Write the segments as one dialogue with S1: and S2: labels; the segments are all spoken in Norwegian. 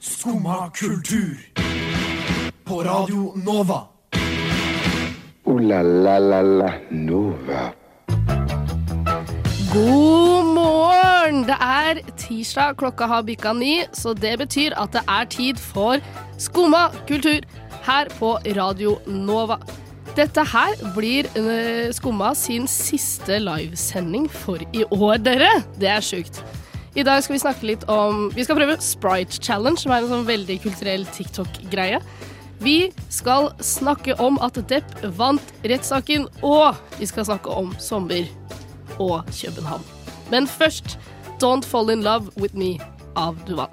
S1: Skumma kultur. På Radio Nova.
S2: Ooh la la la la Nova.
S3: God morgen! Det er tirsdag, klokka har bikka ni, så det betyr at det er tid for Skumma kultur her på Radio Nova. Dette her blir eh, Skumma sin siste livesending for i år, dere. Det er sjukt. I dag skal vi snakke litt om Vi skal prøve Sprite Challenge, som er en sånn veldig kulturell TikTok-greie. Vi skal snakke om at Depp vant rettssaken, og vi skal snakke om sommer og København. Men først Don't Fall In Love With Me av Duval.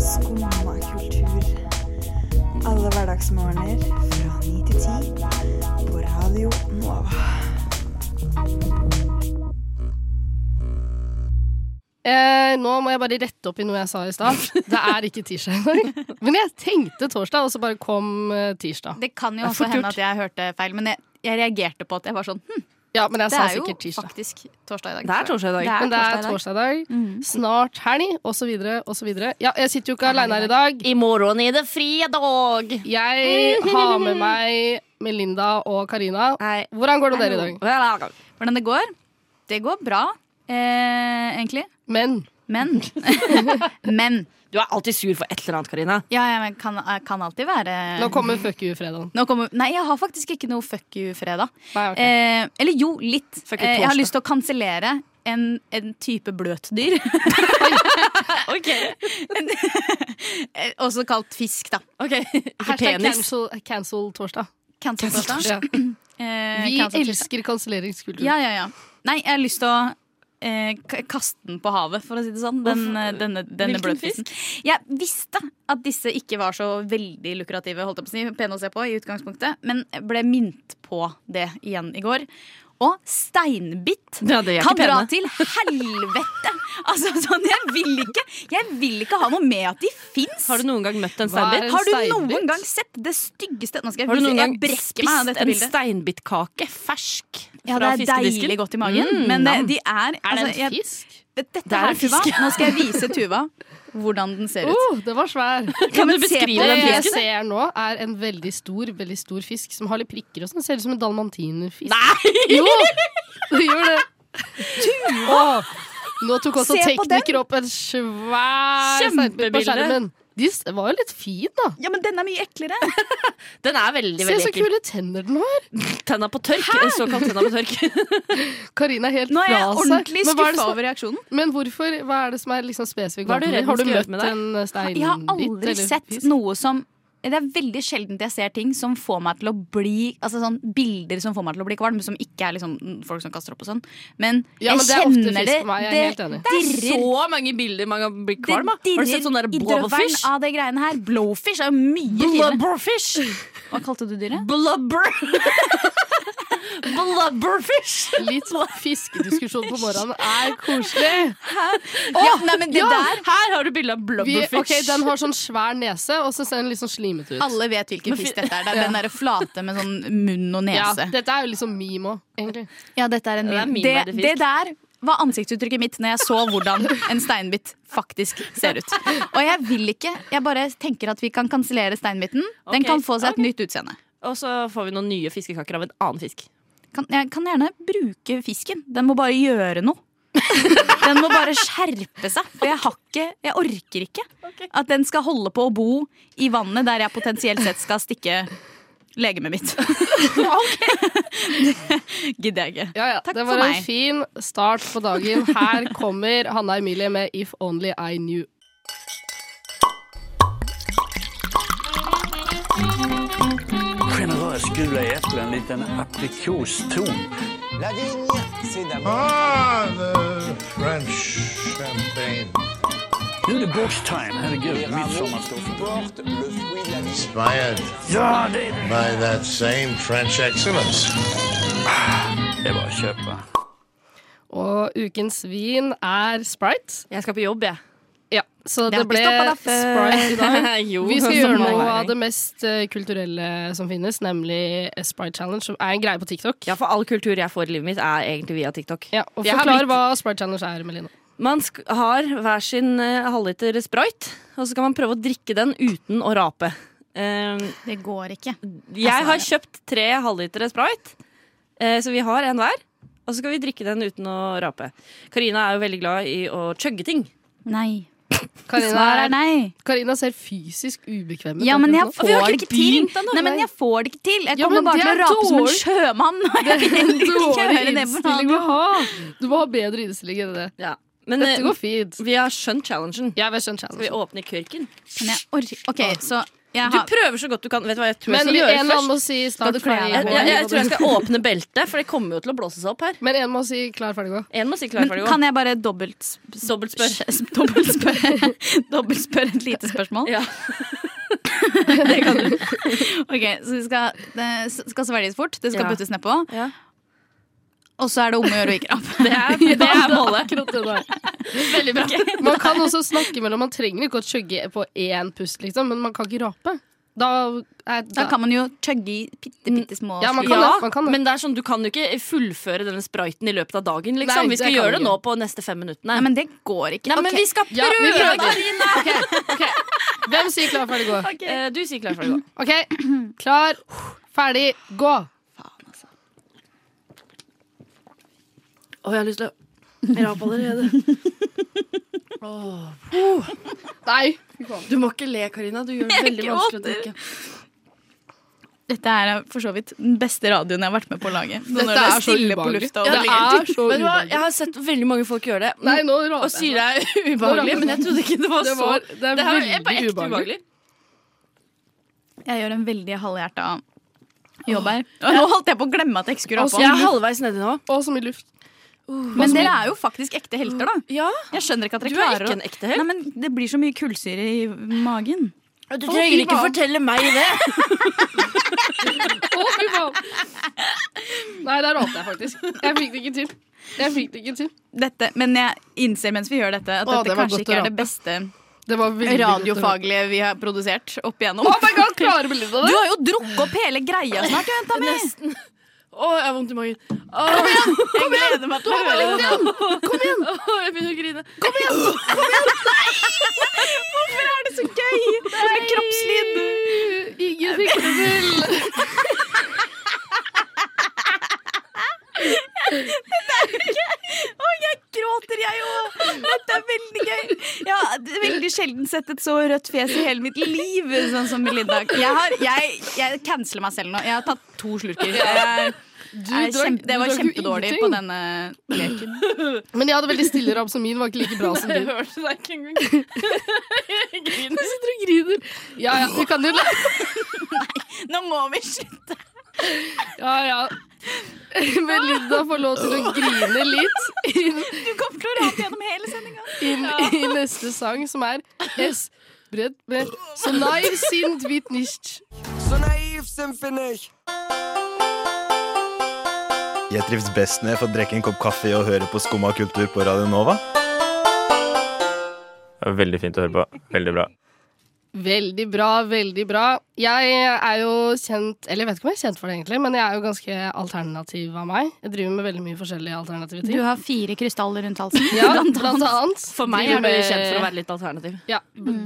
S4: Skumma kultur. Alle hverdagsmorgener fra 9 til 10 på Radio Nova.
S3: Eh, nå må jeg bare rette opp i noe jeg sa i stad. Det er ikke tirsdag i dag. Men jeg tenkte torsdag, og så bare kom eh, tirsdag.
S5: Det kan jo
S3: Det er
S5: også
S3: fort
S5: hende
S3: gjort.
S5: at jeg hørte feil, men jeg, jeg reagerte på at jeg var sånn hm,
S3: Ja, men jeg
S5: Det
S3: sa
S5: er jo
S3: sikkert tirsdag.
S5: faktisk torsdag i dag.
S6: Det er torsdag i dag.
S3: Men det er
S5: torsdag i dag.
S3: torsdag i dag.
S5: Mm.
S3: Snart helg, og så videre, og så videre. Ja, jeg sitter jo ikke aleine her i dag.
S5: I morgen er det fredag!
S3: Jeg har med meg Melinda og Karina.
S6: Hei.
S3: Hvordan går det med dere i dag?
S5: Hvordan det går? Det går bra, eh, egentlig.
S3: Men
S5: Men Men.
S6: Du er alltid sur for et eller annet, Karina.
S5: Ja, ja, men kan, eh, kan alltid være
S3: nå kommer fuck you-fredagen.
S5: Nå kommer- Nei, jeg har faktisk ikke noe fuck you-fredag.
S3: Nei, ok.
S5: Eh, eller jo, litt.
S6: Fuck you
S5: Eh, jeg har
S6: torsdag.
S5: lyst til å kansellere en, en type bløtdyr. Eh, Også kalt fisk, da.
S3: Hashtag cancel, cancel torsdag.
S5: Cancel torsdag.
S3: Ja.
S5: Eh,
S3: Vi
S5: cancel torsdag.
S3: elsker kanselleringskultur.
S5: Ja, ja, ja. Nei, jeg har lyst til å eh, k- kaste den på havet, for å si det sånn. Den, eh, denne denne bløtfisken. Jeg visste at disse ikke var så veldig lukrative, holdt jeg på å si, pene å se på i utgangspunktet, men jeg ble minnet på det igjen i går. Og steinbitt
S6: Ja, de er ikke
S5: kan dra
S6: pene.
S5: til helvete! Altså, sånn, jeg vil ikke Jeg vil ikke ha noe med at de fins!
S6: Har du noen gang møtt en
S3: Hva er
S6: steinbit?
S3: en
S5: Har du
S3: steinbitt?
S5: noen gang sett det styggeste Nå skal jeg
S6: Har du
S5: vise,
S6: noen gang
S5: jeg brekker meg av
S6: spist
S5: dette
S6: en
S5: bildet.
S6: steinbitkake fersk
S5: Ja,
S6: fra
S5: det er
S6: fiskedisken?
S5: deilig godt i magen,
S6: Mm,
S5: men eh,
S6: nam.
S5: de er
S3: Er det
S5: altså,
S3: en
S5: jeg-
S3: fisk?
S5: Dette
S6: er
S5: her,
S6: en fisk.
S5: Tuva, nå skal jeg vise Tuva hvordan den ser ut.
S3: Oh, det var svær.
S6: Kan
S5: men
S6: du
S5: se på
S6: beskrive
S3: Det
S6: den
S3: jeg
S6: fisken?
S3: ser nå, er en veldig stor veldig stor fisk som har litt prikker og sånn. Ser ut som en dalmatinerfisk.
S6: Nei!
S3: Jo, det gjør det. Åh, nå tok også
S5: Se på
S3: tekniker opp en svær steinbit på
S6: Kjempebilde.
S3: skjermen. De s- var jo litt fin, da.
S5: Ja, men den er mye eklere.
S6: Den er veldig,
S3: Se
S6: veldig
S3: så
S6: ekkel.
S3: kule tenner den har.
S6: Tenna på tørk. Såkalt tenna på tørk.
S3: Karina er helt
S5: Nå er jeg
S3: fra seg.
S5: ordentlig
S3: Men hva er det
S5: skuffa
S3: som-
S5: over reaksjonen.
S3: Men hvorfor, hva er det som er liksom spesifikt?
S6: Hva er
S3: galt
S6: du
S3: med
S6: redd
S3: det? har du
S6: den skal
S3: møtt
S6: gjøre med deg?
S3: en steinbit?
S5: Jeg har aldri
S3: eller
S5: sett
S3: fisk?
S5: noe som det er veldig sjelden jeg ser ting som får meg til å bli Altså sånn bilder som får meg til å bli kvalm, som ikke er liksom folk som kaster opp og sånn. Men,
S3: Ja, men det
S5: jeg
S3: er ofte
S5: kjenner
S3: fisk
S5: det.
S3: for meg, jeg er helt enig.
S5: det dirrer
S6: Så mange bilder man kan bli
S5: det
S6: kvalm av. Har du sett sånn der
S5: dirrer i drøvelen
S6: blobberfish?
S5: av de greiene her. Blowfish er jo mye finere.
S6: Blubberfish!
S5: Hva kalte du dyret?
S6: Blubber! Blubberfish!
S3: Litt sånn fiskediskusjon på morgenen er koselig.
S5: ja, nei, men det
S3: ja.
S5: der
S6: Her har du bilde av
S3: Vi,
S6: blubberfish.
S3: ok, Den har sånn svær nese, og så ser den litt sånn slimete ut.
S5: Alle vet hvilken fisk dette er. Det er den derre flate med sånn munn og
S3: ja,
S5: nese.
S3: dette er jo liksom meme òg, egentlig.
S5: Ja, dette er en
S6: Det er
S5: min.
S6: min
S5: Det,
S6: verdifisk.
S5: det der var ansiktsuttrykket mitt når jeg så hvordan en steinbit faktisk ser ut. Og jeg vil ikke. Jeg bare tenker at vi kan kansellere steinbiten. Den
S6: Ok,
S5: kan få seg et
S6: ok.
S5: nytt utseende.
S6: Og så får vi noen nye fiskekaker av en annen fisk.
S5: Kan, jeg kan gjerne bruke fisken. Den må bare gjøre noe. Den må bare skjerpe seg, for jeg, har ikke, jeg orker ikke at den skal holde på å bo i vannet der jeg potensielt sett skal stikke legemet mitt. Det gidder jeg ikke.
S3: Ja, ja.
S5: Takk
S3: det var
S5: for
S3: en
S5: meg.
S3: fin start på dagen. Her kommer Hanna Emilie med If Only I Knew.
S7: Generøst gul i eplet, en liten aprikoston.
S8: Ah, the French champagne.
S7: Nå er det boxtime, herregud, midsommerstoffen.
S8: Inspired
S7: Ja, det er det.
S8: by that same French excellence.
S7: Det er bare å kjøpe.
S3: Og ukens vin er Sprite.
S6: Jeg skal på jobb, jeg.
S3: Ja, så
S5: Det har
S3: det, ble
S5: ikke stoppet deg før.
S3: Sprite i dag.
S6: jo,
S3: Vi skal
S6: som
S3: gjøre noe
S6: vanlig.
S3: av det mest eh, kulturelle som finnes, nemlig Sprite Challenge, som er en greie på TikTok.
S6: Ja, for all kultur jeg får i livet mitt, er egentlig via TikTok.
S3: Ja, og
S6: Jeg har
S3: Forklar
S6: blitt-
S3: hva Sprite Challenge er, Melina.
S6: Man sk har hver sin eh, halvliter sprayt, og så skal man prøve å drikke den uten å rape. Eh,
S5: Det går ikke.
S6: jeg har kjøpt tre halvlitere sprayt, eh, så vi har en hver. Og så skal vi drikke den uten å rape. Karina er jo veldig glad i å chugge ting.
S5: Nei. Svaret er
S3: Karina,
S5: nei.
S3: Karina ser fysisk ubekvem ut.
S5: Ja, men jeg
S3: akkurat nå.
S5: får det ikke til.
S6: begynt ennå.
S5: Nei, men jeg får det ikke til. Jeg
S3: Ja,
S5: kommer
S3: men
S5: bare
S3: det
S5: til å
S3: er
S5: rape som en
S3: dårlig.
S5: sjømann.
S3: Det er en dårlig
S5: det for noe
S3: innstilling å ha. Du må ha bedre innstilling enn det.
S6: Ja. Men
S3: Dette
S6: eh,
S3: går fint.
S6: vi har skjønt challengen.
S3: Jeg vil skjønne
S6: Skal vi
S3: challenge.
S6: åpne kørken?
S5: Men jeg orker OK, så jeg
S6: Du
S5: har
S6: prøver så godt du kan. Vet du hva jeg tror jeg
S3: Men
S6: skal
S3: en
S6: gjøre
S3: eller annen
S6: først?
S3: må si snart
S5: Skal du klare
S3: ferdig,
S6: Jeg,
S5: deg?
S3: gå.
S6: jeg, jeg tror jeg skal åpne beltet, for det kommer jo til å blåse seg opp her.
S3: Men en må si klar, ferdig, gå.
S6: En må si klar,
S5: Men
S6: ferdig,
S5: kan jeg bare dobbelt
S6: gå. Dobbeltspør.
S5: Dobbeltspørre Dobbeltspørre et lite spørsmål?
S6: Ja.
S5: det kan du. OK, så det skal, det skal svelges fort, det skal
S6: Ja.
S5: puttes nedpå,
S6: Ja.
S5: og så er det om å gjøre å ikke rape.
S6: Det er, det er målet.
S5: Veldig bra.
S3: Man kan også snakke mellom Man trenger ikke å chugge på én pust, liksom, men man kan ikke rape. Da er
S5: Da kan man jo chugge i bitte, bitte små
S3: Ja, man kan
S6: Ja,
S3: det, man kan det.
S6: men det er sånn, du kan jo ikke fullføre denne sprayten i løpet av dagen. Liksom.
S3: Nei,
S6: vi
S3: det
S6: skal
S3: kan
S6: gjøre det
S3: vi
S6: nå
S3: ikke.
S6: på neste fem minuttene.
S5: Nei, men det går ikke.
S6: Nei, men
S5: Ok.
S6: vi skal prøve!
S3: Ja, vi prøver.
S6: Karina!
S3: Hvem sier klar, ferdig, gå?
S6: Eh, Du sier klar, ferdig, gå.
S3: OK, klar, ferdig, gå.
S6: Å, jeg har lyst til å rape allerede.
S3: Nei.
S6: Du må ikke le, Karina. Du gjør det veldig vanskelig å drikke.
S5: Dette er for så vidt den beste radioen jeg har vært med på å lage. Dette
S3: Dette er så ubehagelig.
S5: og
S3: Ja,
S5: det
S3: det
S5: ligger-
S3: er så
S6: Vet du hva?
S3: ubehagelig.
S6: Jeg har sett veldig mange folk gjøre det.
S3: Nei, nå raper
S6: og sier det er ubehagelig, men jeg trodde ikke det var
S3: Det
S6: så
S3: var- det er
S6: her
S3: veldig
S6: på ekte
S3: ubehagelig.
S5: Jeg gjør en veldig halvhjerta jobb her. Og nå holdt jeg på å glemme at jeg ikke skulle
S6: Jeg er
S5: rape.
S6: halvveis nedi nå.
S3: Å, så mye luft.
S5: Men dere er jo faktisk ekte helter, da.
S6: Ja,
S5: Jeg skjønner ikke at dere
S6: Du er
S5: klarer
S6: ikke
S5: å-
S6: en ekte helt.
S5: Nei, men Det blir så mye kullsyre i magen.
S6: Du
S3: trenger ikke
S6: fortelle meg det.
S3: Å, fy faen. Nei, der rapte jeg faktisk. Jeg fikk det ikke til. Jeg fikk det ikke til.
S5: Dette, men jeg innser mens vi gjør dette, at
S3: Å,
S5: dette
S3: det var
S5: kanskje
S3: godt å
S5: ikke er
S3: rape.
S5: det beste
S3: Det var veldig godt å høre.
S5: radiofaglige vi har produsert opp igjennom.
S3: Oh my god, klarer Belinda
S5: Du
S3: det?
S5: har jo drukket opp hele greia snart, du, jenta mi!
S6: Å, jeg har vondt i magen. Å,
S5: Jeg gleder meg til å høre det.
S6: å, jeg begynner å grine.
S5: Hvorfor er det så gøy med kroppslyd?
S3: Ingen fikk det til.
S5: Å, jeg gråter, jeg òg! Dette er veldig gøy. Jeg har veldig sjelden sett et så rødt fjes i hele mitt liv. Sånn som Melinda. Jeg, har, jeg, jeg canceler meg selv nå. Jeg har tatt to slurker. Jeg, jeg,
S3: drakk-
S5: kjempe,
S3: du
S5: det var
S3: drakk jo
S5: kjempedårlig
S3: ingenting.
S5: på denne leken.
S3: Men jeg hadde veldig stille rap, så min var ikke like bra som
S6: Jeg
S3: din.
S6: hørte deg ikke engang. Jeg griner.
S3: Du griner. Ja, ja, du kan jo la
S5: Nå må vi slutte.
S3: Ja, ja. Belinda får lov til å grine litt i,
S5: Du kommer til å rape gjennom hele sendinga.
S3: i, i neste sang, som er Es bredd med Så naiv sind hvit nicht.
S9: So naiv sind wir nicht.
S10: Jeg trives best når jeg får drikke en kopp kaffe og høre på Skumma kultur på Radio Nova. Veldig fint å høre på. Veldig bra.
S3: Veldig bra, veldig bra. Jeg er jo kjent Eller jeg vet ikke om jeg er kjent for det, egentlig, men jeg er jo ganske alternativ av meg. Jeg driver med veldig mye forskjellige alternative ting.
S5: har fire krystaller rundt halsen.
S3: Ja, blant annet.
S6: For meg
S3: Driver
S6: er du
S3: med-
S6: kjent for å være Mm. litt alternativ.
S3: Ja,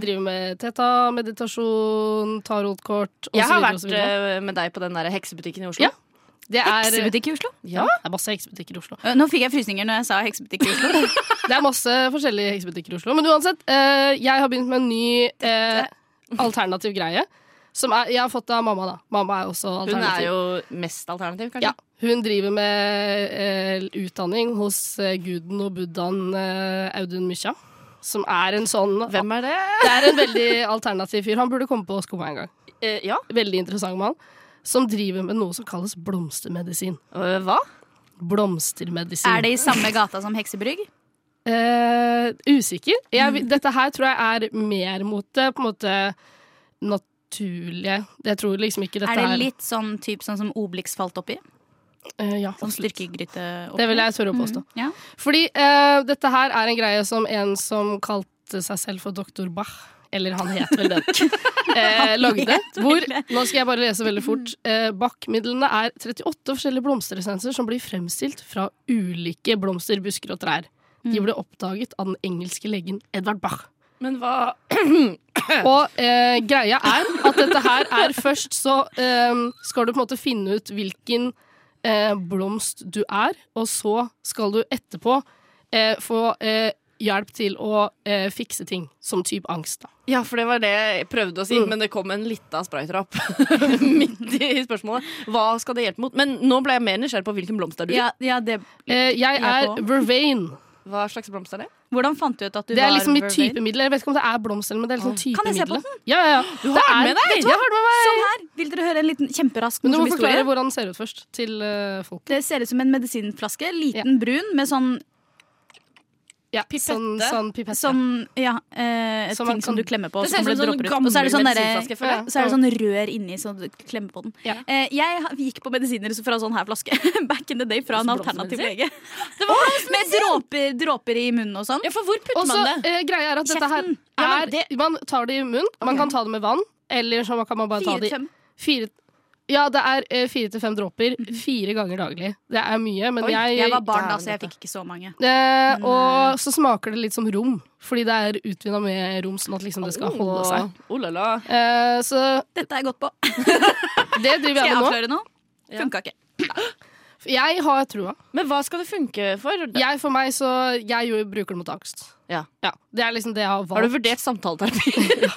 S3: driver med teta, meditasjon, tarotkort
S6: Jeg har
S3: osv.
S6: vært eh, med deg på den der heksebutikken i Oslo.
S3: Ja. Det er,
S5: Heksebutikk i Oslo?
S6: Ja.
S3: Det er masse heksebutikker i Oslo.
S5: Eh, Nå fikk jeg frysninger når jeg sa heksebutikk i Oslo.
S3: Det er masse forskjellige heksebutikker i Oslo. Men uansett, eh, jeg har begynt med en ny eh, alternativ greie. Som er, jeg har fått av mamma, da. Mamma er også
S6: Hun
S3: alternativ.
S6: er jo mest alternativ, kanskje.
S3: ja, Hun driver med eh, utdanning hos eh, guden og buddhaen eh, Audun Mykkja. Som er en sånn
S6: Hvem er det?
S3: Det er en veldig alternativ fyr. Han burde komme på Skumma en gang.
S6: Eh, ja.
S3: Veldig interessant mann. Som driver med noe som kalles blomstermedisin.
S6: Eh, hva?
S3: Blomstermedisin.
S5: Er det i samme gata som heksebrygg?
S3: Eh, usikker. Jeg,
S5: Mm.
S3: Dette her tror jeg er mer mot det på en måte naturlige Jeg tror liksom ikke dette
S5: Er det litt sånn typ sånn som Obelix falt oppi?
S3: Eh, ja,
S5: Sånn
S3: absolutt.
S5: styrkegryte oppi? Mm.
S3: Det vil jeg tørre å påstå.
S5: Ja.
S3: Fordi eh, dette her er en greie som en som kalte seg selv for doktor Bach, eller han het vel den, eh, lagde. Hvor, nå skal jeg bare lese veldig
S5: Mm.
S3: fort. Eh, Bach-midlene er 38 forskjellige blomsteressenser som blir fremstilt fra ulike blomster, busker og trær. De
S5: Mm.
S3: ble oppdaget av den engelske legen Edvard Bach.
S6: Men hva
S3: Og eh, greia er at dette her er først så eh, skal du på en måte finne ut hvilken eh, blomst du er, og så skal du etterpå eh, få eh, hjelp til å eh, fikse ting, som type angst. da.
S6: Ja, for det var det jeg prøvde å si, men det kom en lita spraytrapp midt i spørsmålet. Hva skal det hjelpe mot? Men nå ble jeg mer nysgjerrig på hvilken blomst er du?
S5: Ja, ja, det,
S3: Eh, jeg
S5: Jeg
S3: er
S5: på.
S3: Vervain.
S6: Hva slags blomst er det?
S5: hvordan fant du ut at du
S3: Det er
S5: var
S3: liksom mitt
S5: Vervain?
S3: typemiddel. Jeg vet ikke om det er blomst eller men det er liksom
S5: Kan jeg se på
S3: typemiddel. Ja, ja, ja. Du
S6: har den med deg!
S3: Jeg har den med meg!
S5: Sånn her! Vil dere høre en liten kjemperask
S3: Men du må
S5: morsom
S3: forklare
S5: historie?
S3: hvordan den ser ut først, til eh, folk.
S5: Det ser ut som en medisinflaske. Liten, brun, med sånn,
S3: Ja, Sånn,
S6: Pipette.
S3: sånn pipette.
S5: sånn ja, eh,
S3: Som man
S5: ting
S3: kan-
S5: som du klemmer på.
S6: Det ser ut
S5: kan
S6: som
S5: det
S6: en sånn
S5: dropper ut. Og så er det sånn
S6: gammel
S5: derre-
S6: medisinflaske, føler jeg.
S5: ja, Så er det sånn rør inni, så du klemmer på den.
S3: Ja.
S5: Eh, jeg ha- gikk på medisiner fra sånn her flaske back in the day fra en alternativ lege. Med dråper, dråper i munnen og sånn.
S6: Ja, for hvor putter
S3: Og så
S6: man det?
S3: eh, greia er at dette her
S5: Kjeften.
S3: er
S5: Ja, men
S3: Man tar det i munnen. Man kan ta det med vann, eller så kan man bare ta
S5: Fire,
S3: det i
S5: fem.
S3: fire Ja, det er eh, fire til fem dråper fire ganger daglig. Det er mye, men
S5: Oi,
S3: jeg
S5: jeg var barn Mm. da,
S6: Dæven,
S5: så jeg
S6: dette.
S5: fikk ikke så mange.
S3: Eh, og så smaker det litt som rom, fordi det er utvinna med rom, sånn at liksom det skal holde seg.
S6: Oh, la, la.
S3: Eh, så
S5: Dette er jeg godt på.
S3: det driver jeg
S5: Skal jeg
S3: med nå.
S5: avsløre noe? Funka ikke.
S3: Jeg har trua.
S6: Men hva skal det funke for?
S3: Jeg, for meg, så jeg jo bruker det mot angst.
S6: Ja.
S3: Det er liksom det jeg har
S6: Har du
S3: valgt.
S6: vurdert samtaleterapi?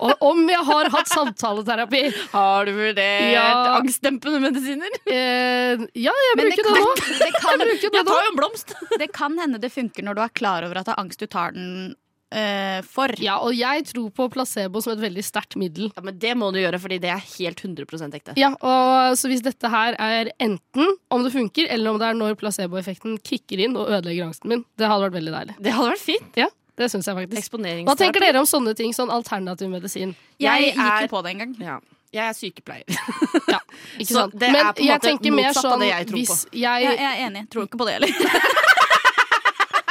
S3: Og om jeg har hatt samtaleterapi!
S6: Har du vurdert
S3: Ja.
S6: angstdempende medisiner?
S3: Eh, ja, jeg
S5: Men det
S3: bruker det,
S5: kan-
S3: nå.
S5: Det kan,
S3: Bruker det
S6: Jeg
S3: nå.
S6: tar jo en blomst!
S5: det kan hende det funker når du er klar over at det er angst du tar den eh, for.
S3: Ja, og jeg tror på placebo som et veldig sterkt middel.
S6: Ja, men Det må du gjøre, fordi det er helt 100 ekte.
S3: Ja, og Så hvis dette her er enten om det funker, eller om det er når placeboeffekten kicker inn og ødelegger angsten min, det hadde vært veldig deilig.
S6: Det hadde vært fint.
S3: Ja, det synes jeg faktisk Hva
S6: Eksponeringsterapi.
S3: tenker dere om sånne ting? Sånn alternativ medisin.
S5: Jeg,
S6: Jeg
S5: gikk
S6: er-
S5: jo på det en gang.
S6: Ja. Jeg er sykepleier.
S3: Ja, ikke
S6: Så
S3: sant?
S6: det er
S3: Men
S6: på en
S3: jeg
S6: måte
S3: tenker mer
S6: motsatt av
S3: sånn
S6: det jeg tror
S3: hvis
S5: Ja,
S3: jeg,
S5: jeg er enig. Tror ikke på det heller.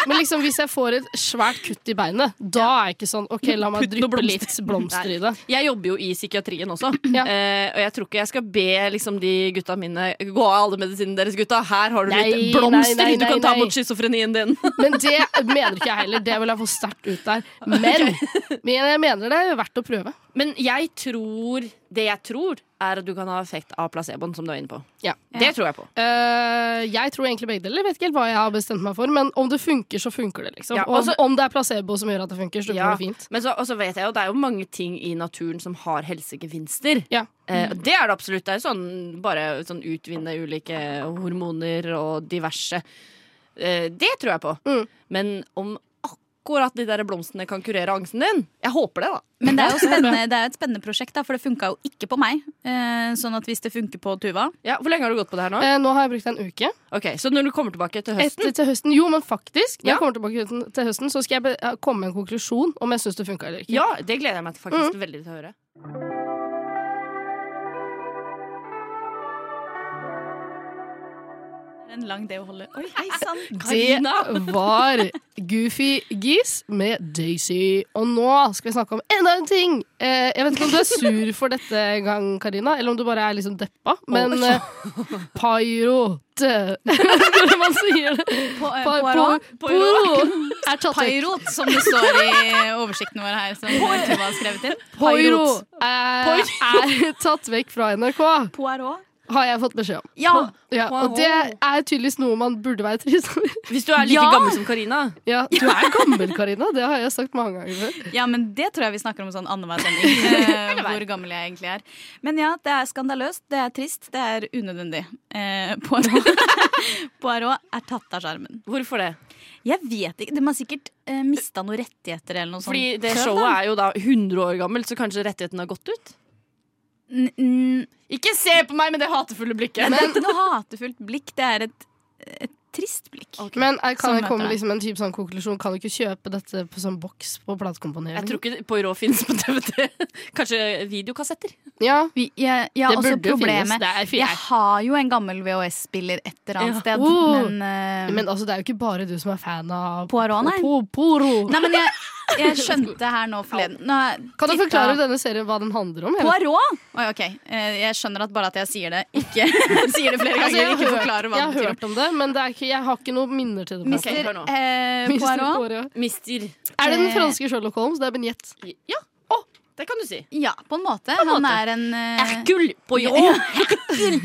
S3: Men liksom hvis jeg får et svært kutt i beinet, da er jeg ikke sånn OK, la meg
S6: Putt noen
S3: dryppe litt
S6: blomster.
S3: blomster i det.
S6: Jeg jobber jo i psykiatrien også,
S3: Ja.
S6: eh, og jeg tror ikke jeg skal be liksom, de gutta mine gå av alle medisinene deres, gutta. Her har du
S3: Nei,
S6: litt blomster
S3: nei, nei,
S6: du kan ta
S3: nei.
S6: mot schizofrenien din.
S3: Men det mener ikke jeg heller. Det vil jeg få sterkt ut der. Men, men jeg mener det er verdt å prøve.
S6: Men jeg tror Det jeg tror, er at du kan ha effekt av placeboen, som du er inne på.
S3: Ja.
S6: Det tror jeg på.
S3: Eh, jeg tror egentlig begge deler. Vet ikke helt hva jeg har bestemt meg for, men om det funker, så funker det. liksom
S6: Ja,
S3: Og
S6: altså-
S3: Om det er placebo som gjør at det funker, så
S6: Ja.
S3: går det fint.
S6: Men så og så vet jeg jo, det er jo mange ting i naturen som har helsegevinster.
S3: Ja.
S6: Eh,
S3: Mm.
S6: og det er det absolutt. Det er jo sånn, bare sånn utvinne ulike hormoner og diverse. Eh, det tror jeg på.
S3: Mm.
S6: Men om akkurat de der blomstene kan kurere angsten din Jeg håper det, da.
S5: Men det er jo spennende, det er jo et spennende prosjekt, da, for det funka jo ikke på meg. Eh, sånn at hvis det funker på Tuva
S6: Ja, hvor lenge har du gått på det her nå?
S3: Eh, nå har jeg brukt en uke.
S6: Ok, Så når du kommer tilbake til høsten
S3: Etter til høsten Jo, men faktisk, når
S6: Ja.
S3: jeg kommer tilbake til høsten- til høsten, så skal jeg be- komme med en konklusjon om jeg syns det funka eller ikke.
S6: Ja, det gleder jeg meg til faktisk
S3: Mm.
S6: veldig til å høre.
S5: En lang det å holde Oi, hei sann!
S3: Det var Goofy Geese med Daisy. Og nå skal vi snakke om enda en ting! Eh, jeg vet ikke om du er sur for dette en gang, Karina, eller om du bare er liksom deppa, men eh, Pyrot eh, Hvordan man sier det?
S5: På, eh,
S3: Pa-
S5: Poirot.
S3: po- Poirot er tatt vekk.
S5: Poirot, som det står i oversikten vår her, som Tuva har skrevet inn.
S3: Poirot eh, er tatt vekk fra NRK,
S5: Poirot.
S3: har jeg fått beskjed om.
S5: Ja!
S3: Ja, og det er tydeligvis noe man burde være trist over.
S6: Hvis du er like
S5: Ja!
S6: gammel som Karina.
S3: Ja, du er gammel, Karina. Det har jeg sagt mange ganger før.
S5: Ja, men det tror jeg vi snakker om sånn annenhver sending. Eh, hvor gammel jeg egentlig er. Men ja, det er skandaløst, det er trist, det er unødvendig. Eh, Poirot. Poirot er tatt av skjermen.
S6: Hvorfor det?
S5: Jeg vet ikke, De har sikkert eh, mista noen rettigheter eller
S3: sånn
S5: noe sånt.
S6: Fordi det
S5: før,
S6: showet
S5: da.
S6: er jo da 100 år gammelt, så kanskje rettigheten har gått ut?
S5: N- n-
S6: Ikke se på meg med det hatefulle blikket!
S5: Men det er ikke noe hatefullt blikk, det er et, et trist blikk.
S3: Men eh, kan
S5: Sånn
S3: jeg komme
S5: heter
S3: med
S5: det.
S3: liksom en type sånn konklusjon? Kan du ikke kjøpe dette på sånn boks på
S6: Jeg
S3: platekomponering?
S6: tror ikke Poirot finnes på TVT. Kanskje videokassetter.
S3: Ja,
S5: Vi, jeg, jeg har
S3: det
S5: også
S3: burde jo finnes.
S5: altså problemet
S3: Det er,
S5: Jeg har jo en gammel VHS-spiller et eller annet
S6: Ja.
S5: sted,
S3: Oh.
S5: men, eh,
S3: men altså, det er jo ikke bare du som er fan av
S5: Poirot, nei.
S3: Po- Poro.
S5: Nei, men jeg, Jeg skjønte her nå forleden nå,
S3: Kan du
S5: titta-
S3: forklare denne serien hva den handler om? eller?
S5: Poirot! Oi, ok. Eh, Jeg skjønner at bare at jeg sier det, ikke sier det flere ganger,
S3: Altså, jeg,
S5: ikke
S3: har
S5: forklarer
S3: hørt,
S5: hva
S3: jeg har
S5: det betyr.
S3: hørt om det, men det er ikke, jeg har ikke noen minner til det.
S5: Mister
S6: hør nå.
S5: eh,
S3: Mister
S5: Poirot.
S3: Poirot.
S6: Mister.
S3: Er det den franske Sherlock Holmes? Det er Benjett.
S6: Ja, det kan du si.
S5: Ja, på en måte.
S6: en
S5: Han
S6: måte.
S5: er en eh,
S6: Hercule
S5: Ja.
S6: Poirot.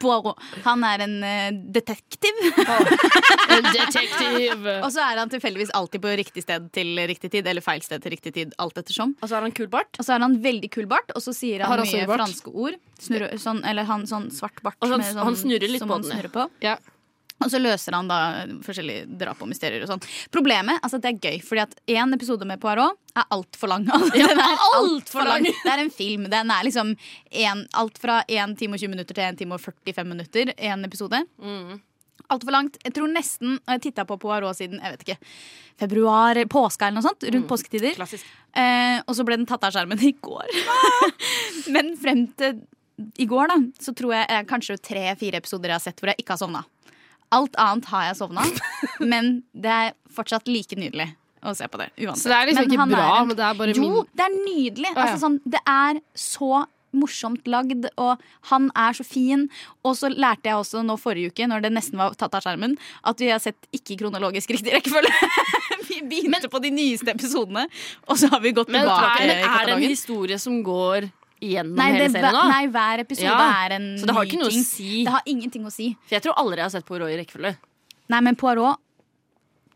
S5: Poirot. Han er en eh, detektiv,
S3: Detektiv.
S5: og så er han tilfeldigvis alltid på riktig sted til riktig tid, eller feil sted til riktig tid, alt ettersom.
S6: Og så har han kul bart.
S5: Og så har han veldig kul bart, og så sier han,
S3: Har han
S5: mye
S3: stor bart?
S5: franske ord. Snurre, sånn, eller han sånn svart bart.
S6: Og så han-
S5: med sånn,
S6: han snurrer litt
S5: som
S6: på
S5: han
S6: den, ja.
S5: snurrer på.
S3: Ja.
S5: Og så løser han da forskjellige drap og mysterier og sånn. Problemet altså det er gøy, fordi at én episode med Poirot er altfor lang. Den er alt for lang. Det er en film. Den er liksom en, alt fra 1 time og 20 minutter til 1 time og 45 minutter. En episode. Altfor langt. Jeg tror nesten og Jeg titta på Poirot siden jeg vet ikke, februar, påska eller noe sånt. Rundt påsketider.
S6: Klassisk.
S5: Eh, og så ble den tatt av skjermen i går. Men frem til i går, da, så tror jeg eh, kanskje tre-fire episoder jeg har sett hvor jeg ikke har sovna. Alt annet har jeg sovna, men det er fortsatt like nydelig å se på det. uansett.
S3: Så det er liksom
S5: Men
S3: ikke
S5: han er
S3: bra,
S5: en-
S3: men det er bare
S5: Jo,
S3: min
S5: det er
S3: ja.
S5: nydelig. Altså, sånn, det er så morsomt lagd, og han er så fin. Og så lærte jeg også nå forrige uke, når det nesten var tatt av skjermen, at vi har sett ikke kronologisk riktig rekkefølge. vi begynte på de nyeste episodene, og så har vi gått
S6: Men
S5: tilbake. i
S6: er, er det en
S5: katalogen.
S6: historie som går gjennom
S5: Nei, det,
S6: hele serien nå?
S5: nei, hver episode
S6: Ja,
S5: er en
S6: så det har
S5: ny
S6: ikke noe å
S5: ting.
S6: si.
S5: Det har ingenting å si.
S6: For jeg tror aldri jeg har sett Poirot i rekkefølge.
S5: Nei, men Poirot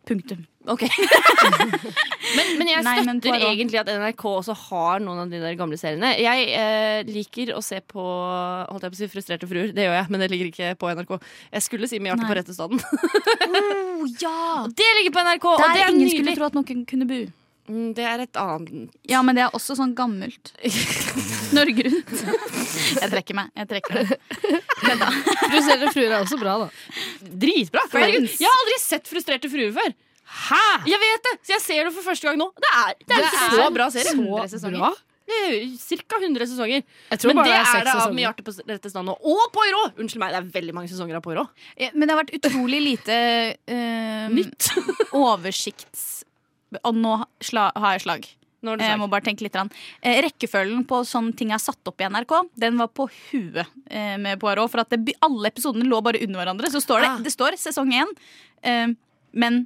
S5: Punktum.
S6: Ok Men, men jeg
S5: Nei,
S6: støtter
S5: men Poirot.
S6: egentlig at NRK også har noen av de der gamle seriene. Jeg eh, liker å se på holdt jeg på å si, Frustrerte fruer. Det gjør jeg, men det ligger ikke på NRK. Jeg skulle si Med hjertet
S5: Nei.
S6: på rette staden.
S5: Oh, ja!
S6: Det ligger på NRK!
S5: Der
S6: og det er
S5: ingen
S6: nydelig.
S5: skulle tro at noen kunne bu.
S6: Mm, Det er et annet
S5: Ja, men det er også sånn gammelt. Norge Rundt. Jeg trekker meg. jeg trekker meg
S3: Frustrerte fruer er også bra, da.
S6: Dritbra! Herregud,
S5: Friends.
S6: Jeg har aldri sett Frustrerte fruer før. Hæ? Jeg vet det! Så jeg ser det for første gang nå. Det er, det er, en så bra serie.
S3: Så bra.
S6: Det er Cirka 100 sesonger.
S3: Jeg tror
S6: Men
S3: bare
S6: det er
S3: seks
S6: det av Med
S3: sesonger.
S6: hjertet på rette staden nå. Og Poirot! Unnskyld meg, det er veldig mange sesonger av Poirot.
S5: Ja, Men det har vært utrolig lite eh,
S6: Nytt.
S5: oversikts... Og nå sla, har jeg slag.
S6: Nå har du
S5: Jeg
S6: sagt.
S5: må bare tenke litt. grann. Eh, rekkefølgen på sånn ting er satt opp i NRK, den var på huet eh, med Poirot. For at det, by- alle episodene lå bare under hverandre. Så står det,
S6: Ah.
S5: det står sesong én, eh, men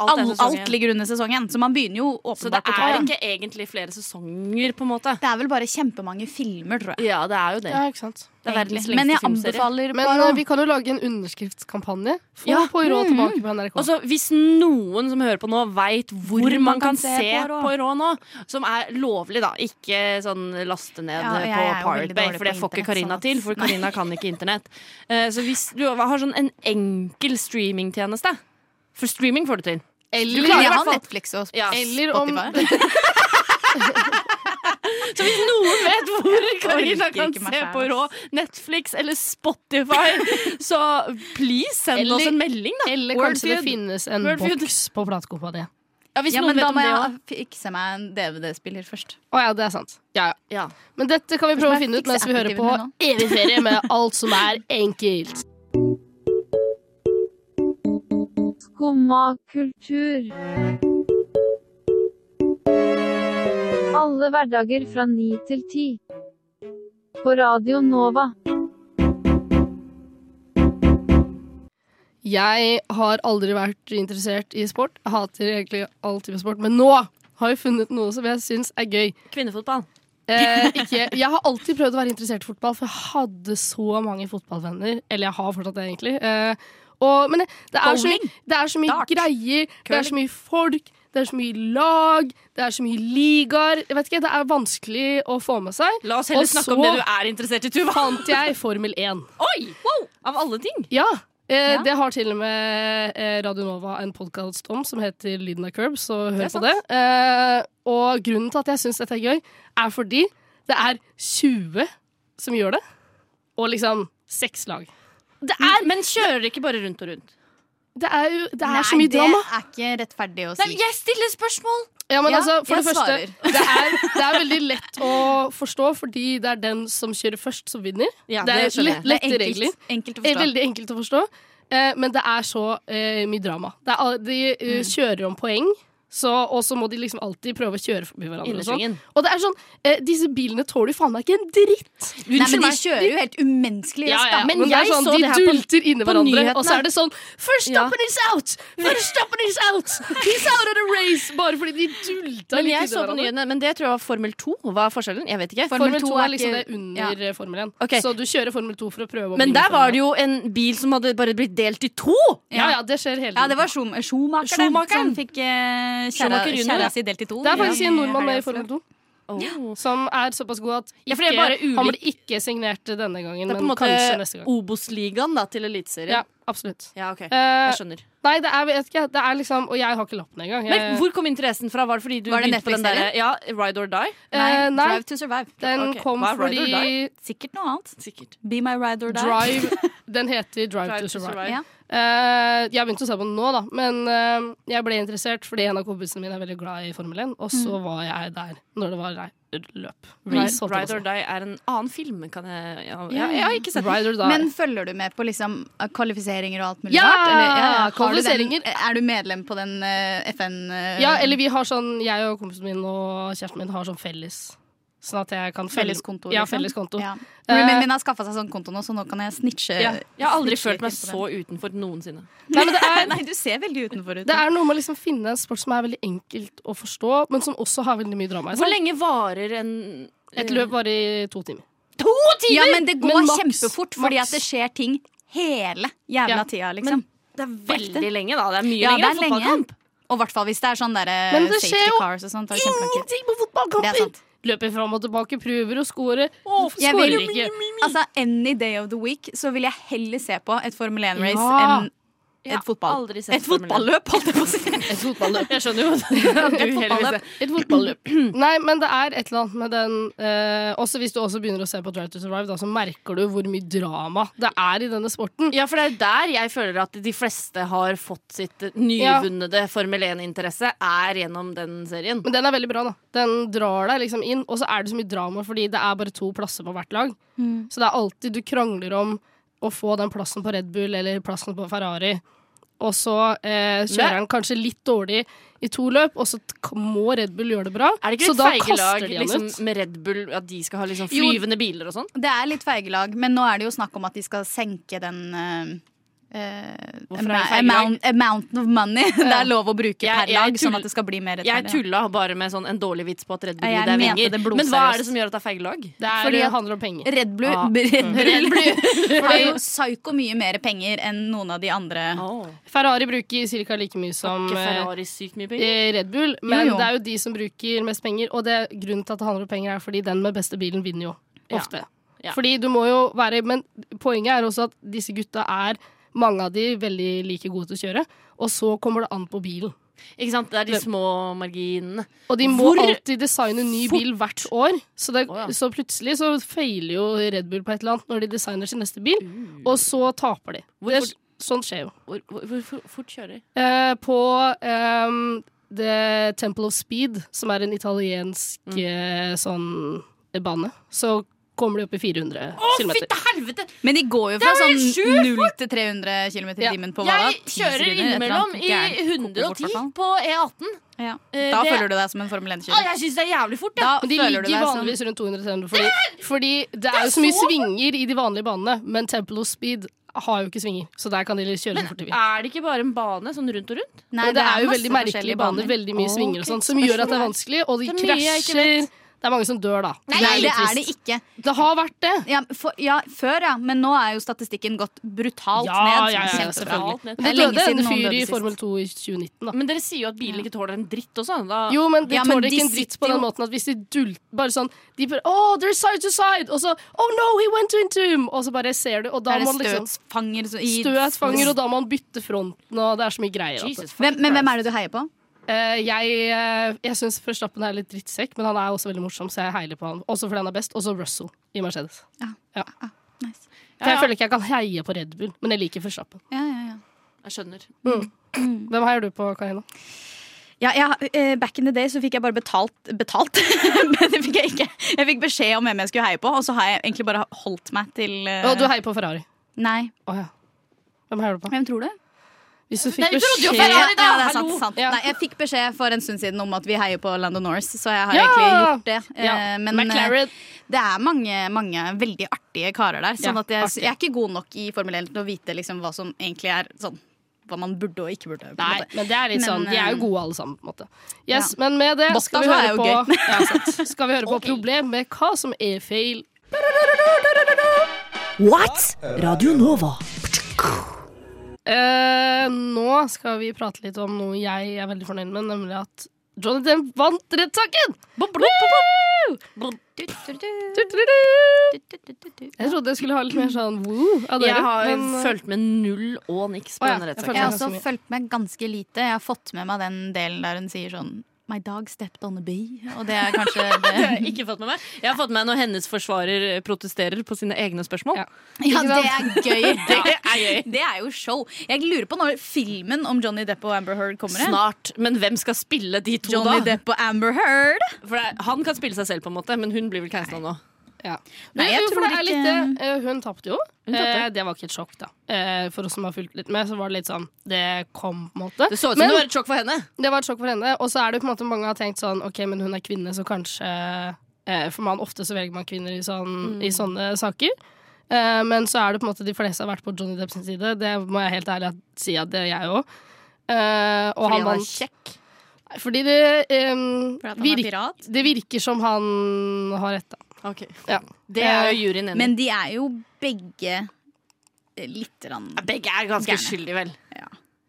S6: Alt
S5: alt,
S6: er
S5: alt,
S6: sesong én.
S5: ligger under sesong én. Så man begynner jo
S6: Så det
S5: åpenbart på
S6: er
S5: toppen.
S6: ikke egentlig flere sesonger, på en måte.
S5: Det er vel bare kjempemange filmer, tror jeg.
S6: Ja, det er jo det.
S3: Ja, ikke sant.
S6: Det er verdens
S5: Egentlig. Men jeg
S6: lengste filmserie.
S5: anbefaler
S3: Men eh,
S5: Poirot.
S3: vi kan jo lage en underskriftskampanje. Få
S6: Ja.
S3: Poirot tilbake på NRK.
S6: Og så Hvis noen som hører på nå, veit hvor,
S5: Hvor
S6: man, kan, se
S5: Poirot.
S6: Poirot. nå, som er lovlig, da, ikke sånn last ned
S5: Ja,
S6: eh,
S5: jeg
S6: på
S5: er jo
S6: Pirate
S5: veldig
S6: Bay,
S5: dårlig
S6: for det
S5: på
S6: får ikke
S5: internett,
S6: Karina
S5: sånn at-
S6: til, for
S5: Nei.
S6: Karina kan ikke internett. Eh, Så hvis du har sånn en enkel streamingtjeneste For streaming får du til.
S3: eller,
S5: Du
S6: klarer
S5: klarer
S6: i
S5: å
S6: hvert
S5: ha
S6: fall-
S5: Netflix og
S6: Ja.
S3: eller om
S6: Så hvis noen vet hvor Karina
S5: orker
S6: kan
S5: ikke meg
S6: se
S5: selv,
S6: Poirot, Netflix eller Spotify, så please send
S3: Eller-
S6: oss en melding, da.
S3: Eller
S6: Word
S3: kanskje det
S6: feud.
S3: finnes en
S6: Word feud.
S3: boks på platekompaniet.
S6: Ja, hvis
S5: Ja, men
S6: noen vet
S5: da
S6: om
S5: må
S6: det
S5: jeg
S6: også.
S5: fikse meg en DVD-spiller først.
S3: Å ja, det er sant. Ja, ja.
S6: Ja.
S3: Men dette kan vi prøve å
S5: Skal jeg
S3: finne ut
S5: fikse
S3: mens vi hører på
S5: appetiven
S3: Evig ferie med alt som er enkelt.
S11: Skumma kultur. Alle hverdager fra 9 til 10. På Radio Nova.
S3: Jeg har aldri vært interessert i sport. Jeg hater egentlig all type sport. Men nå har jeg funnet noe som jeg syns er gøy.
S6: Kvinnefotball.
S3: Eh, ikke, jeg har alltid prøvd å være interessert i fotball, for jeg hadde så mange fotballvenner. Eller jeg har fortsatt det, egentlig. Eh, og, men det, det, er så, mye-
S5: Bowling.
S3: det er så mye
S5: Dart.
S3: greier, det er så mye folk, det er så mye lag, det er så mye ligaer. Jeg vet ikke, Det er vanskelig å få med seg.
S6: La oss heller
S3: Og
S6: snakke
S3: så-
S6: om det du er interessert i, Tuva.
S3: Fant jeg Formel 1.
S6: Oi! Av alle ting.
S3: Ja. Eh,
S5: Ja.
S3: Det har til og med eh, Radio Nova en podkast om som heter Lyden av curbs, så hør
S6: Det er
S3: på det. Eh, og grunnen til at jeg syns dette er gøy, er fordi det er 20 som gjør det. Og liksom seks lag. Det er,
S6: Men kjører ikke bare rundt og rundt?
S3: det er jo det er
S5: Nei,
S3: så mye drama.
S5: Det er ikke rettferdig å si.
S6: Nei, jeg stiller spørsmål!
S3: Ja, men
S5: Ja,
S3: altså, for
S5: jeg
S3: det første,
S5: svarer.
S3: det er, det er veldig lett å forstå, fordi det er den som kjører først, som vinner.
S6: Ja,
S3: det
S6: det
S3: er
S6: skjønner
S3: lett, lette regler.
S5: enkelt å
S3: Det er
S5: forstå.
S3: veldig enkelt å forstå, eh, men det er så eh, mye drama. Det er, al- de eh, kjører om poeng Så, og så må de liksom alltid prøve å kjøre forbi hverandre. Og, sånn.
S6: Innersvingen.
S3: og det er sånn, eh, disse bilene tåler jo faen meg ikke en dritt!
S5: Nei, men de
S3: meg.
S5: kjører jo helt umenneskelig
S3: Ja,
S5: raskt.
S3: ja,
S5: da.
S3: men, jeg sånn, så de
S5: det her på-
S3: dulter inni
S5: på
S3: hverandre, og så
S5: nyhetene.
S3: er det sånn First stopping is out! First stopping is out! He's out of the race! Bare fordi de dulta
S6: Men
S3: litt
S6: jeg
S3: inni
S6: så på
S3: hverandre.
S6: nyhetene, men det tror jeg var Formel 2. Hva er forskjellen? Jeg vet ikke.
S3: Formel 2 er
S5: ikke-
S3: liksom det under eh, Formel 1.
S6: Ok.
S3: Så du kjører Formel 2 for å prøve å
S6: Men
S3: bli
S6: der
S3: Formel 1.
S6: var det jo en bil som hadde bare blitt delt i to!
S3: Ja, ja, det skjer hele
S5: Ja,
S3: tiden.
S5: det var Schum- Schumacher, det, som
S6: Schumacheren.
S5: fikk eh, kjæra-
S6: Schumacher Junior,
S5: kjæra
S6: ja.
S5: si delt i to.
S3: Det er faktisk
S5: Ja.
S3: en nordmann med i
S5: Helga
S3: Formel 2.
S6: Åh.
S3: Som er såpass god at
S6: Ja,
S3: ikke,
S6: for det er bare ulik-
S3: han ble ikke signert denne gangen,
S6: Det er på en
S3: men kanskje neste
S6: måte
S3: gang.
S6: Obos-ligaen da, til Eliteserien.
S3: Ja, absolutt.
S6: Ja, ok.
S3: Eh,
S6: Jeg skjønner.
S3: nei, det er, vet ikke, det er liksom Og jeg har ikke lappen engang. Jeg-
S6: Men hvor kom interessen fra? Var det fordi du
S5: Var det
S6: begynte på den
S5: Netflix-serien?
S6: derre ja, Ride or Die?
S3: Eh,
S5: Nei,
S3: nei.
S5: Drive to Survive.
S3: den
S6: ok,
S3: kom
S6: hva er Ride
S3: fordi
S6: or Die?
S5: Sikkert noe annet.
S6: Sikkert.
S5: Be my ride or die.
S3: Drive Den heter Drive, to Survive.
S5: Ja.
S3: Eh, jeg har begynt å se på den nå, da. Men eh, jeg ble interessert fordi en av kompisene mine er veldig glad i Formel 1. Og
S6: Mm.
S3: så var jeg der når det var rei- løp. Race, holdt jeg på å
S6: Ride, Ride or
S3: si.
S6: Die er en annen film, kan jeg ja, ja, Jeg har ikke sett den.
S3: Ride or die.
S5: Men følger du med på liksom kvalifiseringer og alt mulig
S3: Ja,
S5: rart? Har du den-
S3: kvalifiseringer.
S5: Er du medlem på den eh, FN eh,
S3: ja, eller vi har sånn Jeg og kompisen min og kjæresten min har sånn felles. Sånn at jeg kan følge-
S5: felleskonto?
S3: Ja,
S5: liksom?
S3: felleskonto.
S5: Ja.
S3: Eh,
S5: Roomien min har skaffa seg sånn konto nå, så nå kan jeg snitche.
S3: Ja.
S6: Jeg har aldri
S5: snitche
S6: følt meg
S5: litt inn på
S6: så utenfor noensinne.
S5: den.
S3: Nei, men det er-
S5: Nei, du ser veldig utenfor ut.
S3: Det er noe med å liksom finne en sport som er veldig enkelt å forstå, men som også har veldig mye drama i
S6: Hvor
S3: seg.
S6: lenge varer en
S3: Et løp varer i to timer.
S6: To timer!
S5: ja, men det går
S3: Men maks,
S5: kjempefort, fordi
S3: maks.
S5: at det skjer ting hele jævla
S3: Ja.
S5: tida, liksom.
S6: det er veldig lenge, da. Det er mye
S5: Ja, det
S6: lenger
S5: er
S6: enn
S5: lenge.
S6: fotballkamp.
S5: Og i hvert fall hvis det er sånn der, eh,
S3: Men det skjer
S5: safety
S3: jo
S5: cars og sånt. Det er kjempelang tid.
S3: Ingenting på
S5: Det er
S3: fotballkamper!
S5: sant.
S3: sånn, Løper fram og tilbake, prøver å score. Hvorfor
S5: jeg
S3: scorer
S5: vil-
S3: ikke?
S5: Altså, Any day of the week så vil jeg heller se på et Formel 1-race
S3: Ja.
S5: enn
S6: Jeg har
S5: et fotball.
S6: aldri sett
S5: Et
S6: Formel 1.
S5: fotballøp, holdt jeg på å si.
S3: Et fotballøp.
S6: Jeg skjønner jo at du heller vil se.
S3: Et fotballøp. Nei, men det er et eller annet med den eh, Også hvis du også begynner å se på Drive to Survive, da, så merker du hvor mye drama det er i denne sporten.
S6: Ja, for det er der jeg føler at de fleste har fått sitt eh, nyvunnede Formel 1-interesse, er gjennom den serien.
S3: Men den er veldig bra, da. Den drar deg liksom inn, og så er det så mye drama fordi det er bare to plasser på hvert lag. Så det er alltid du krangler om å få den plassen på Red Bull eller plassen på Ferrari. Og så eh, kjører han kanskje litt dårlig i to løp, og så t- må Red Bull gjøre det bra.
S6: Er det
S3: så
S6: ikke litt
S3: da
S6: feige
S3: kaster
S6: lag
S3: de han
S6: liksom,
S3: ut.
S6: med Red Bull at de skal ha liksom,
S5: Jo.
S6: flyvende biler og sånn?
S5: Det er litt feige lag, men nå er det jo snakk om at de skal senke den eh, eh,
S6: Hvorfor er det feige
S5: amount, amount of money det er lov å bruke
S6: Jeg-
S5: per
S6: jeg
S5: lag,
S6: tull-
S5: sånn at det skal bli mer
S6: Jeg
S5: rettferdig.
S6: tulla bare med sånn, en dårlig vits på at Red Bull
S5: Ja, jeg
S6: det er
S5: mente
S6: vinger.
S5: det
S6: Men hva
S5: blodseriøst.
S6: er det som gjør at det er feige lag?
S3: Det er,
S5: Fordi at-
S3: handler om penger.
S5: Red Bull,
S6: Ah.
S5: Red Bull har jo psyko mye mer penger enn noen av de andre.
S3: Ferrari bruker ca. like mye som
S6: Ikke
S3: eh,
S6: Ferrari sykt mye penger?
S3: eh, Red Bull, men
S5: Jo, jo.
S3: det er jo de som bruker mest penger. Og det, grunnen til at det handler om penger, er fordi den med beste bilen vinner jo ofte.
S6: Ja.
S3: Fordi du må jo være Men poenget er også at disse gutta er mange av de veldig like gode til å kjøre, og så kommer det an på bilen.
S6: Eh, Ikke sant? Det er de små marginene.
S3: Og de må
S6: Hvor
S3: alltid designe ny
S6: fort-
S3: bil hvert år, så, det,
S6: Å, ja.
S3: så plutselig så feiler jo Red Bull på et eller annet når de designer sin neste bil,
S6: Uh.
S3: og så taper de.
S6: Hvor
S3: Det,
S6: fort-
S3: er- sånt skjer jo.
S6: Hvor, hvor, hvor, hvor fort kjører de?
S3: Eh, på ehm, The Temple of Speed, som er en italiensk eh, sånn eh, bane, så kommer de opp i 400 km.
S6: helvete!
S5: Men de går jo fra
S6: Det er jo
S5: sånn
S6: helt sjukt
S5: 0 til 300 km i
S3: Ja.
S5: timen på hva da?
S6: Jeg
S5: 10
S6: kjører
S5: sekunder, et eller
S6: innimellom
S5: annet.
S6: i
S5: Gærent. Kokos fort,
S6: 110
S5: hvertfall.
S6: på E18.
S5: Ja.
S6: Eh,
S5: Da
S6: det-
S5: føler du deg som en Formel
S6: Å,
S5: 1-kjører.
S6: jeg syns det er jævlig fort,
S5: Da
S6: jeg.
S3: Men de
S5: føler
S3: ligger
S5: du deg som
S3: vanligvis rundt 200 km, fordi, fordi det er jo så mye
S6: så-
S3: svinger i de vanlige banene, men Temple of Speed har jo ikke svinger, så der kan de kjøre så fort de vil.
S6: Er det ikke bare en bane sånn rundt og rundt?
S5: Nei,
S3: Men det er jo
S5: masse
S3: veldig merkelige
S5: forskjellige
S3: baner, veldig mye
S6: Å,
S3: svinger og
S6: ok,
S3: sånn, som gjør at det er vanskelig, og de
S6: Det er mye jeg ikke
S3: krasjer. Det er mange som dør, da.
S5: Nei,
S3: det er
S5: det
S3: litt
S5: er det
S3: trist.
S5: ikke.
S3: Det har vært det.
S5: Ja, for, ja, før, ja. Men nå er jo statistikken gått brutalt
S3: Ja,
S5: ned.
S3: ja,
S5: som er
S3: ja,
S5: kjempebra.
S3: selvfølgelig.
S6: Alt ned.
S5: Det
S3: Det
S5: er lenge
S3: døde
S5: siden
S3: en
S5: noen
S3: fyr i
S5: døde sist.
S3: Formel 2 i 2019, da.
S6: Men dere sier jo at bilen ikke tåler en dritt også. Da.
S3: Mm. Jo, men de
S5: Ja, men
S3: tåler
S5: de
S3: ikke en dritt
S5: sitter
S3: på den
S5: jo-
S3: måten at hvis de dult Bare sånn de bare, Oh, they're side to side! Og så Oh no, he went into him! Og så bare ser du, og da
S5: Er det
S3: må man liksom
S5: støtsfanger så- i-
S3: Støtfanger, og da må man bytte fronten, og det er så mye greier. Altså.
S6: Jesus
S5: hvem, Men hvem
S6: Christ.
S5: er det du heier på?
S3: Eh, jeg uh, jeg syns Verstappen er litt drittsekk, men han er også veldig morsom, så jeg heiler på han. Også fordi han er best. Og så Russell i Mercedes.
S5: Ah, Nice.
S3: For jeg føler ikke jeg kan heie på Red Bull, men jeg liker Verstappen.
S5: Ja, ja, ja.
S6: Jeg skjønner.
S5: Mm.
S3: Hvem heier du på, Karina?
S5: Ja, jeg, eh, back in the day så fikk jeg bare betalt Betalt? Men det fikk jeg ikke. Jeg fikk beskjed om hvem jeg skulle heie på, og så har jeg egentlig bare holdt meg til
S3: Å,
S5: eh,
S3: du heier på Ferrari.
S5: Nei.
S3: Å ja. Hvem heier du på?
S5: Hvem tror du?
S3: Hvis du
S5: Nei,
S3: fikk
S5: vi trodde jo
S3: beskjed
S5: Ferrari, da!
S3: Ja,
S5: det er sant,
S3: hallo.
S5: sant.
S3: Ja.
S5: Nei, jeg fikk beskjed for en stund siden om at vi heier på Lando Norris, så jeg har
S3: Ja!
S5: egentlig gjort det. Eh,
S3: Ja,
S5: Men eh,
S3: McLaren.
S5: det er mange, mange veldig artige karer der, sånn
S3: Ja,
S5: at jeg,
S3: artig.
S5: jeg er ikke god nok i Formel 1 til å vite liksom hva som egentlig er sånn hva man burde og ikke burde. på en
S3: Nei,
S5: måte.
S3: men det er litt sånn, de er
S5: eh,
S3: jo gode alle sammen, på en måte. Yes,
S5: Ja.
S3: Men med det
S5: Bottas
S3: skal vi
S5: var
S3: høre
S5: jo
S3: på,
S5: gøy.
S3: ja, sant. skal vi høre på problem med hva som er feil.
S12: What? Radio Nova.
S3: Eh, nå skal vi prate litt om noe jeg er veldig fornøyd med, nemlig at Johnny Depp vant rettssaken! Woo! Jeg trodde jeg skulle ha litt mer sånn woo av dere.
S6: Jeg har
S3: men- eh,
S6: fulgt med null og niks
S5: Å
S6: på
S5: ja,
S6: denne
S5: Jeg har også
S6: rettssaken.
S5: fulgt med ganske lite. Jeg har fått med meg den delen der hun sier sånn My dog stepped on a bee. Og det er kanskje
S6: Det har
S5: det.
S6: jeg ikke fått med meg. Jeg har fått med meg når hennes forsvarer protesterer på sine egne spørsmål.
S5: Ja,
S6: Ikke
S5: det er
S6: sant?
S5: gøy.
S6: det er gøy.
S5: Det er jo show. Jeg lurer på når filmen om Johnny Depp og Amber Heard kommer. hen.
S6: Snart. Men hvem skal spille de to,
S5: Johnny
S6: da?
S5: Depp og Amber Heard.
S6: For det, er- han kan spille seg selv, på en måte, men hun blir vel cancela nå.
S3: Ja.
S6: Nei,
S3: Men
S6: jeg
S3: jo, for
S6: tror
S3: det er
S6: ikke-
S3: litt det. Eh, Hun tapte jo.
S6: Hun tapte.
S3: Eh, Det var ikke et sjokk, da. Eh, For oss som har fulgt litt med, så var det litt sånn Det kom, på en måte.
S6: Det så ut som
S3: Men
S6: det var et sjokk for henne.
S3: det var et sjokk for henne. Og så er det på en måte mange har tenkt sånn OK, men hun er kvinne, så kanskje eh, For man ofte så velger man kvinner i, sånn,
S6: Mm.
S3: i sånne saker. Eh, Men så er det på en måte de fleste har vært på Johnny Depps side. Det må jeg helt ærlig si at det er jeg òg. Eh, og han
S5: Fordi han er
S3: vant Nei, Fordi det ehm,
S5: Fordi at han er
S3: virk,
S5: pirat?
S3: Det virker som han har rett, da. Ja.
S5: Det er jo
S6: juryen
S5: Men de er jo begge litt rann
S6: Begge er ganske
S5: Gærne.
S6: skyldige, vel.
S3: Eh,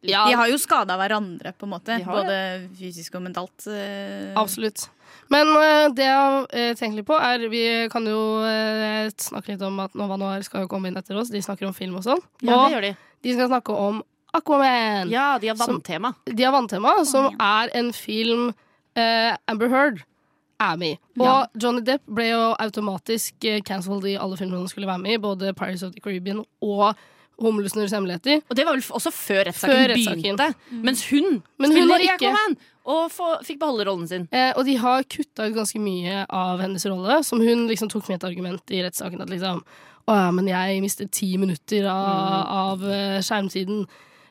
S3: Ja.
S5: De har jo skada hverandre, på en måte.
S6: De har
S5: Både fysisk og mentalt. eh.
S3: Absolutt. Men eh, det jeg har eh, tenkt litt på, er Vi kan jo eh, snakke litt om at Nova Noir skal jo komme inn etter oss. De snakker om film og sånn.
S6: Ja,
S3: og
S6: det gjør de.
S3: de skal snakke om Aquaman.
S6: Mm. Ja, de har
S3: Som-
S6: vanntema.
S3: De har vanntema, som er en film eh, Amber Heard er med i. Og
S6: Ja.
S3: Johnny Depp ble jo automatisk eh, cancelled i alle filmene han skulle være med i. Både Pirates of the Caribbean og Humlesnurrs hemmeligheter.
S6: Og det var vel f- også før
S3: Før
S6: rettssaken
S3: rettssaken.
S6: begynte. Mens hun
S3: Men hun var
S6: spiller i
S3: ikke-
S6: Aquaman og få- fikk beholde rollen sin.
S3: Eh, og de har kutta ut ganske mye av hennes rolle, som hun liksom tok med et argument i rettssaken. At liksom Å ja, men jeg mistet ti minutter
S6: Mm.
S3: av, av eh, skjermtiden.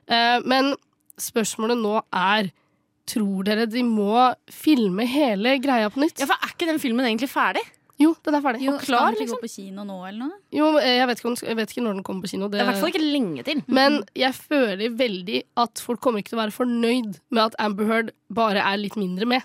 S3: Eh, men spørsmålet nå er Tror dere de må filme hele greia på nytt?
S6: Ja, for Er ikke den filmen egentlig ferdig?
S3: Jo, den er ferdig.
S5: Jo,
S3: Og
S5: skal
S3: klar,
S5: den ikke
S3: liksom.
S5: gå på kino nå, eller noe?
S3: Jo, eh, jeg vet, ikke om, den skal- jeg vet ikke når den kommer på kino.
S6: Det er i hvert fall ikke lenge til.
S3: Men jeg føler veldig at folk kommer ikke til å være fornøyd med at Amber Heard bare er litt mindre med.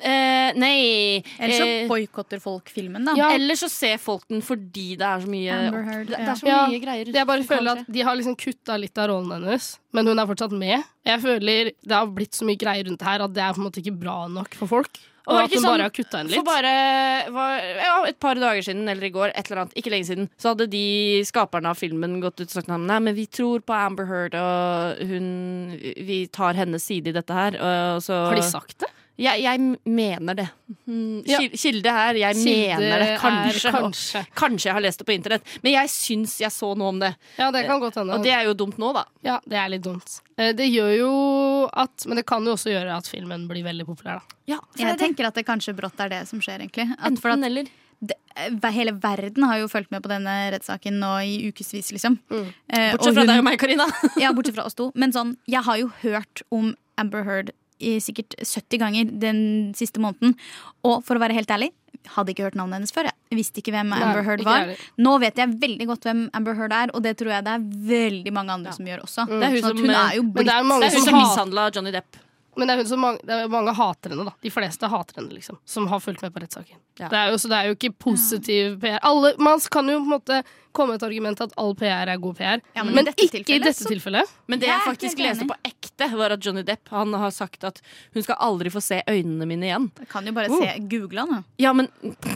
S6: Eh, nei
S5: Eller så
S6: eh,
S5: boikotter folk filmen, da.
S3: Ja.
S6: Eller så ser folk den fordi det er så mye
S5: Amber Heard,
S6: det, det er så
S3: Ja.
S6: mye greier.
S3: Jeg bare
S6: som
S3: føler
S6: kan skje.
S3: at De har liksom kutta litt av rollen hennes, men hun er fortsatt med. Jeg føler Det har blitt så mye greier rundt her at det er på en måte ikke bra nok for folk. Og,
S6: var det
S3: at
S6: ikke
S3: hun
S6: sånn-
S3: bare har kutta henne
S6: For
S3: litt.
S6: bare var, ja, et par dager siden eller i går, et eller annet, ikke lenge siden, så hadde de skaperne av filmen gått ut og sagt nei, men vi tror på Amber Heard, og hun, vi tar hennes side i dette her. Og så,
S3: Har de sagt det?
S6: Jeg, jeg mener det. Mm,
S3: Ja.
S6: kil- Kilde her, jeg
S3: Kilde
S6: mener det.
S3: er
S6: Kanskje.
S3: kanskje.
S6: Kanskje jeg har lest det på internett. Men jeg syns jeg så noe om det.
S3: Ja, det kan godt hende.
S6: Og det er jo dumt nå, da.
S3: Ja, det er litt dumt. Eh, Det gjør jo at Men det kan jo også gjøre at filmen blir veldig populær, da.
S5: Jeg tenker at det kanskje brått er det som skjer, egentlig. At for
S6: Enten
S5: at
S6: eller.
S5: det, eh, hele verden har jo fulgt med på denne rettssaken nå i ukevis, liksom. Eh, og
S6: Mm. Bortsett fra
S5: hun-
S6: deg og meg, Karina.
S5: Ja, bortsett fra oss to. Men sånn, jeg har jo hørt om Amber Heard i sikkert 70 ganger den siste måneden. Og for å være helt ærlig, hadde ikke hørt navnet hennes før. Jeg visste ikke hvem Amber Heard
S3: ikke
S5: var.
S3: jeg heller.
S5: Nå vet jeg veldig godt hvem Amber Heard er, og det tror jeg det er veldig mange andre som gjør også.
S6: Mm. Det er
S5: Sånn
S6: hun
S5: at
S6: som,
S5: hun er jo
S6: eh,
S3: Men det er
S5: blitt
S3: mange
S6: Det er hun
S3: som
S6: som
S3: hater
S6: mishandla Johnny Depp.
S3: Men det er hun som mange, det er mange hater henne, da. De fleste hater henne, liksom. Som har fulgt med på rettssaken.
S6: Ja.
S3: Det er jo, så det er jo ikke positiv PR. Alle, man kan jo på en måte komme med et argument at all PR er god PR,
S5: Ja, men i
S3: men,
S5: dette
S3: ikke i
S5: tilfellet
S3: dette
S5: så-
S3: tilfellet.
S6: Men det
S5: Jeg
S6: jeg
S5: er
S6: faktisk
S5: helt
S6: leste
S5: enig.
S6: på ekte, var at Johnny Depp han har sagt at hun skal aldri få se øynene mine igjen.
S5: Jeg kan jo bare
S6: Oh.
S5: se google han, da.
S6: Ja, men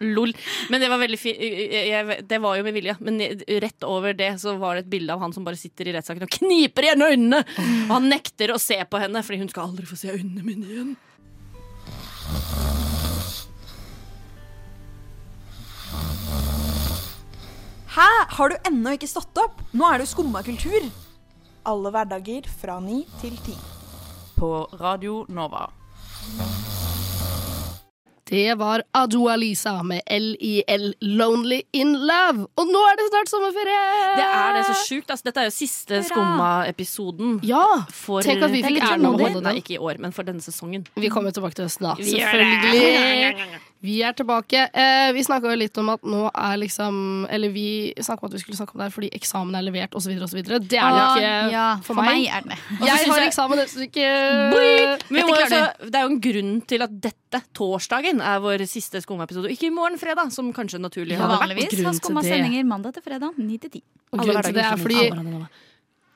S6: Lol. Men det var veldig fint. Det var jo med vilje. Men rett over det så var det et bilde av han som bare sitter i rettssaken og kniper igjen øynene! Og han nekter å se på henne, fordi hun skal aldri få se øynene mine igjen.
S13: Hæ? Har du ennå ikke stått opp? Nå er det jo skumma kultur. Alle hverdager fra ni til ti.
S14: På Radio Nova.
S3: Det var Adua Lisa med LIL Lonely in Love. Og nå er det snart sommerferie!
S6: Det er det så sjukt. Altså, dette er jo siste Skumma-episoden.
S3: Ja,
S6: for-
S3: Tenk at vi
S6: Det er
S3: fikk
S6: litt
S3: æren av å
S6: tålmodig.
S3: holde
S6: Nei,
S3: den.
S6: Ikke i år, men for denne sesongen.
S3: Vi kommer tilbake til høsten, da.
S6: Vi gjør det.
S3: Selvfølgelig. Vi er tilbake. Eh, vi snakka jo litt om at nå er liksom Eller vi snakka om at vi skulle snakke om det her fordi eksamen er levert, osv., osv. Det er det
S5: Ah,
S3: ikke
S5: ja,
S3: for,
S5: for
S3: meg.
S5: meg er det det.
S3: Jeg
S6: Og så synes
S3: har
S6: jeg-
S3: eksamen neste uke.
S6: Men
S3: Dette
S6: jo,
S3: klarer du.
S6: altså, det er jo en grunn til at dette, torsdagen, er vår siste Skumma-episode. Ikke i morgen, fredag, som kanskje naturlig
S5: Ja,
S6: hadde vært.
S5: vanligvis har Skumma sendinger mandag til fredag 9 til 10.
S6: Og
S5: Alle
S6: grunnen til det
S5: hverdager
S6: er sånn.
S5: fra
S6: fordi
S5: mandag.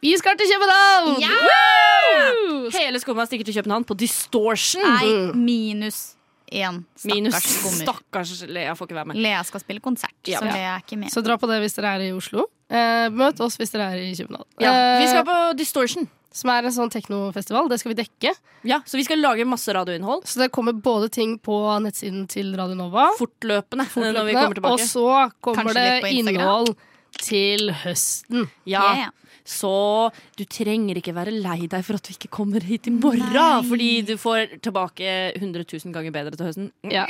S3: Vi skal til København!
S6: Woo! Hele Skumma stikker til København på Distortion.
S5: Nei, minus én.
S6: Minus
S5: Stakkars Mm. skummer.
S6: stakkars Lea får ikke være med.
S5: Lea skal spille konsert,
S6: Ja.
S5: så Lea er ikke med.
S3: Så dra på det hvis dere er i Oslo. Eh, møt oss hvis dere er i København.
S6: Ja, vi
S3: Eh.
S6: skal på
S3: Distortion. Som er en sånn teknofestival. Det skal vi dekke.
S6: Ja, Så vi skal lage masse radioinnhold.
S3: Så det kommer både ting på nettsiden til Radio Nova
S6: Fortløpende, når vi
S3: fortløpende,
S6: kommer tilbake.
S3: Og så kommer
S6: Kanskje litt på
S3: det
S6: Instagram.
S3: innhold til høsten.
S6: Ja. Så du trenger ikke være lei deg for at vi ikke kommer hit i morgen,
S3: Nei.
S6: fordi du får tilbake 100 000 ganger bedre til høsten.
S3: Ja.